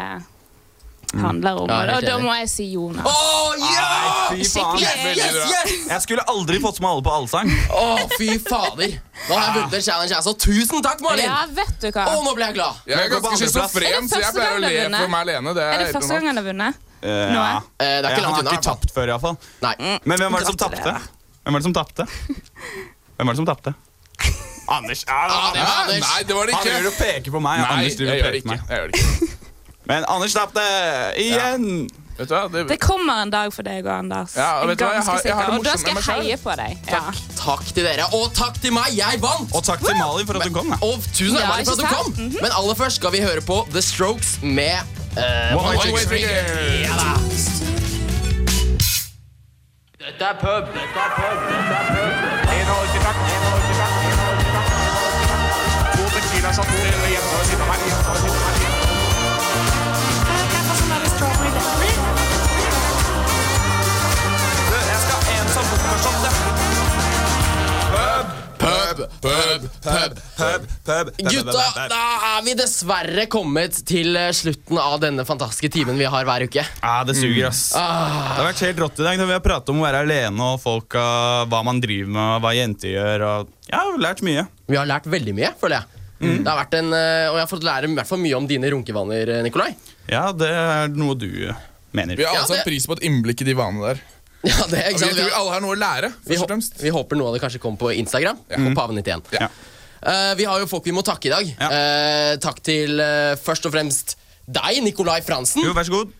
E: Mm.
O: handler om.
F: Ja, jeg er
O: og
F: helt
O: da
F: enig.
O: må jeg si Jonas.
M: Å,
F: Nei, fy faen.
O: Skikkelig.
M: Yes, yes, yes!
F: Jeg skulle aldri fått med alle på allsang.
M: Å, fy fader. Nå har jeg vunnet en challenge, altså. Tusen takk, Malin!
O: Ja, vet du hva.
M: Å, nå ble jeg glad.
E: Jeg er ganske schizofren, så jeg pleier å le for meg alene. Det
O: Er det
E: helt
O: første
E: normalt.
O: gang han har vunnet?
F: Eh, ja.
M: Eh, det er ikke langt unna,
F: Jeg har
M: i hvert
F: ikke
M: fall.
F: tapt før, iallfall.
D: Mm.
F: Men hvem var det som tapte?
M: Gratulerer.
F: Hvem var det som tapte? Hvem var det som tapte? Anders. Ja,
E: det var Anders. Nei, det var det ikke.
F: Han driver og peker på meg.
E: Nei,
F: Anders driver
E: jeg
F: og
E: gjør det
F: peker på meg.
E: Jeg gjør det
F: Men Anders tapte igjen!
E: Vet du hva?
O: Det kommer en dag for deg og Anders.
E: Ja,
O: Jeg er
E: og vet du hva, jeg har-
O: ganske
E: jeg har det
O: sikker. Og da
E: morsomt
O: skal
E: med
O: jeg
E: meg
O: heie på deg. Takk.
M: Takk til dere, og takk til meg. Jeg vant!
F: Og takk til Malin for at hun kom.
M: Og tusen takk Mhm.
O: Ja,
M: Malin, for at
O: ikke
M: du
O: sant?
M: kom. Men aller først skal vi høre på The Strokes med eh,
F: One Way Ticket.
M: Ja da.
J: Dette er pub. Dette er pub.
F: Jeg skal ha en som bor med
E: pub, pub,
D: pub, pub.
C: Gutta, da er vi dessverre kommet til eh, slutten av denne fantastiske timen vi har hver uke.
D: Ja, det suger, ass.
M: Mm.
C: Ah.
D: Det har vært helt rått i dag. når Vi har pratet om å være alene og folk, ah, hva man driver med, og hva jenter gjør. Og jeg har lært mye.
C: Vi har lært veldig mye, føler jeg. Det har vært en, eh, og jeg har fått lære i hvert fall mye om dine runkevaner, eh, Nikolai.
D: Ja, det er noe du eh, mener.
E: Vi har alle satt pris på et innblikk i de vanene der.
C: Ja, det er
E: Og
C: ikke sant.
E: vi tror alle har noe å lære.
C: Vi, hå- vi håper noe av det kanskje kommer på Instagram. På Paven91. Eh, vi har jo folk vi må takke i dag. Eh, takk til eh, først og fremst deg, Nikolai Fransen.
D: Jo, vær så god.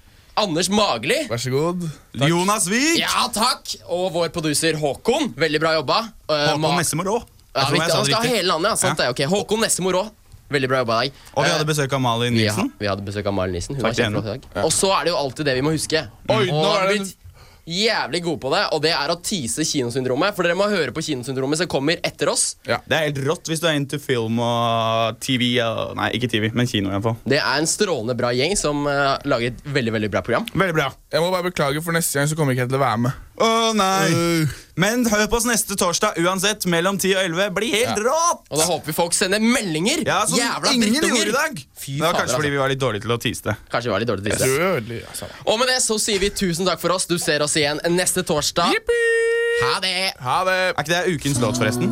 C: Anders Magli.
E: Vær så god.
D: Jonas Wiik.
C: Ja, takk. Og vår producer Håkon. Veldig bra jobba. Eh,
D: Håkon
C: Ma-
D: Nessemor òg.
C: Ja, viktig, han skal ha hele landet, ja. Sant det, ok. Håkon Nessemor òg. Veldig bra jobba av deg.
D: Og vi
C: Eh,
D: hadde besøk av Malin
C: vi
D: Nilsen.
C: Vi hadde besøk av Malin Nissen. Hun
D: Takk
C: var
D: til henne.
C: kjempeflott i dag. Og så er det jo alltid det vi må huske.
E: Oi,
C: Og
E: nå er
C: vi
E: det-
C: blitt Jævlig gode på det, og det er å tease Kinosyndromet. For dere må høre på Kinosyndromet som kommer etter oss.
D: Det er helt rått hvis du er into film og TV og Nei, ikke TV, men kino. i hvert fall.
C: Det er en strålende bra gjeng som eh, lager et veldig veldig bra program.
D: Veldig bra.
E: Jeg må bare beklage, for neste gang så kommer ikke jeg til å være med.
D: Å nei!
C: Øh.
D: Men hør på oss neste torsdag uansett, mellom 10 og 11. Bli helt
C: Ja.
D: rått!
C: Og da håper vi folk sender meldinger!
D: Ja, som
C: Jævla
D: ingen
C: drittunger!
D: gjorde i dag.
C: Fy
D: Det var
C: fader,
D: kanskje fordi
C: altså.
D: vi var litt dårlige til å tease det.
C: Kanskje vi var litt dårlige til å tease det. Og med det så sier vi tusen takk for oss. Du ser oss igjen neste torsdag. Ha det!
D: Er ikke det ukens låt, forresten?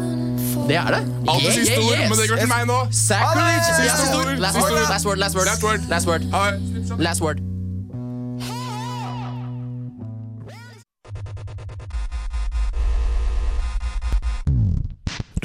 C: Det er det.
E: Aller
C: Yeah,
E: siste
C: yeah,
E: ord,
C: yes.
E: men det er går til meg nå.
C: Sacrilege!
E: Ha det!
C: Siste ord. Last
E: Siste
C: word,
E: ord.
C: last word, last word.
E: Last word.
C: Last word.
E: Ha det.
C: Last word.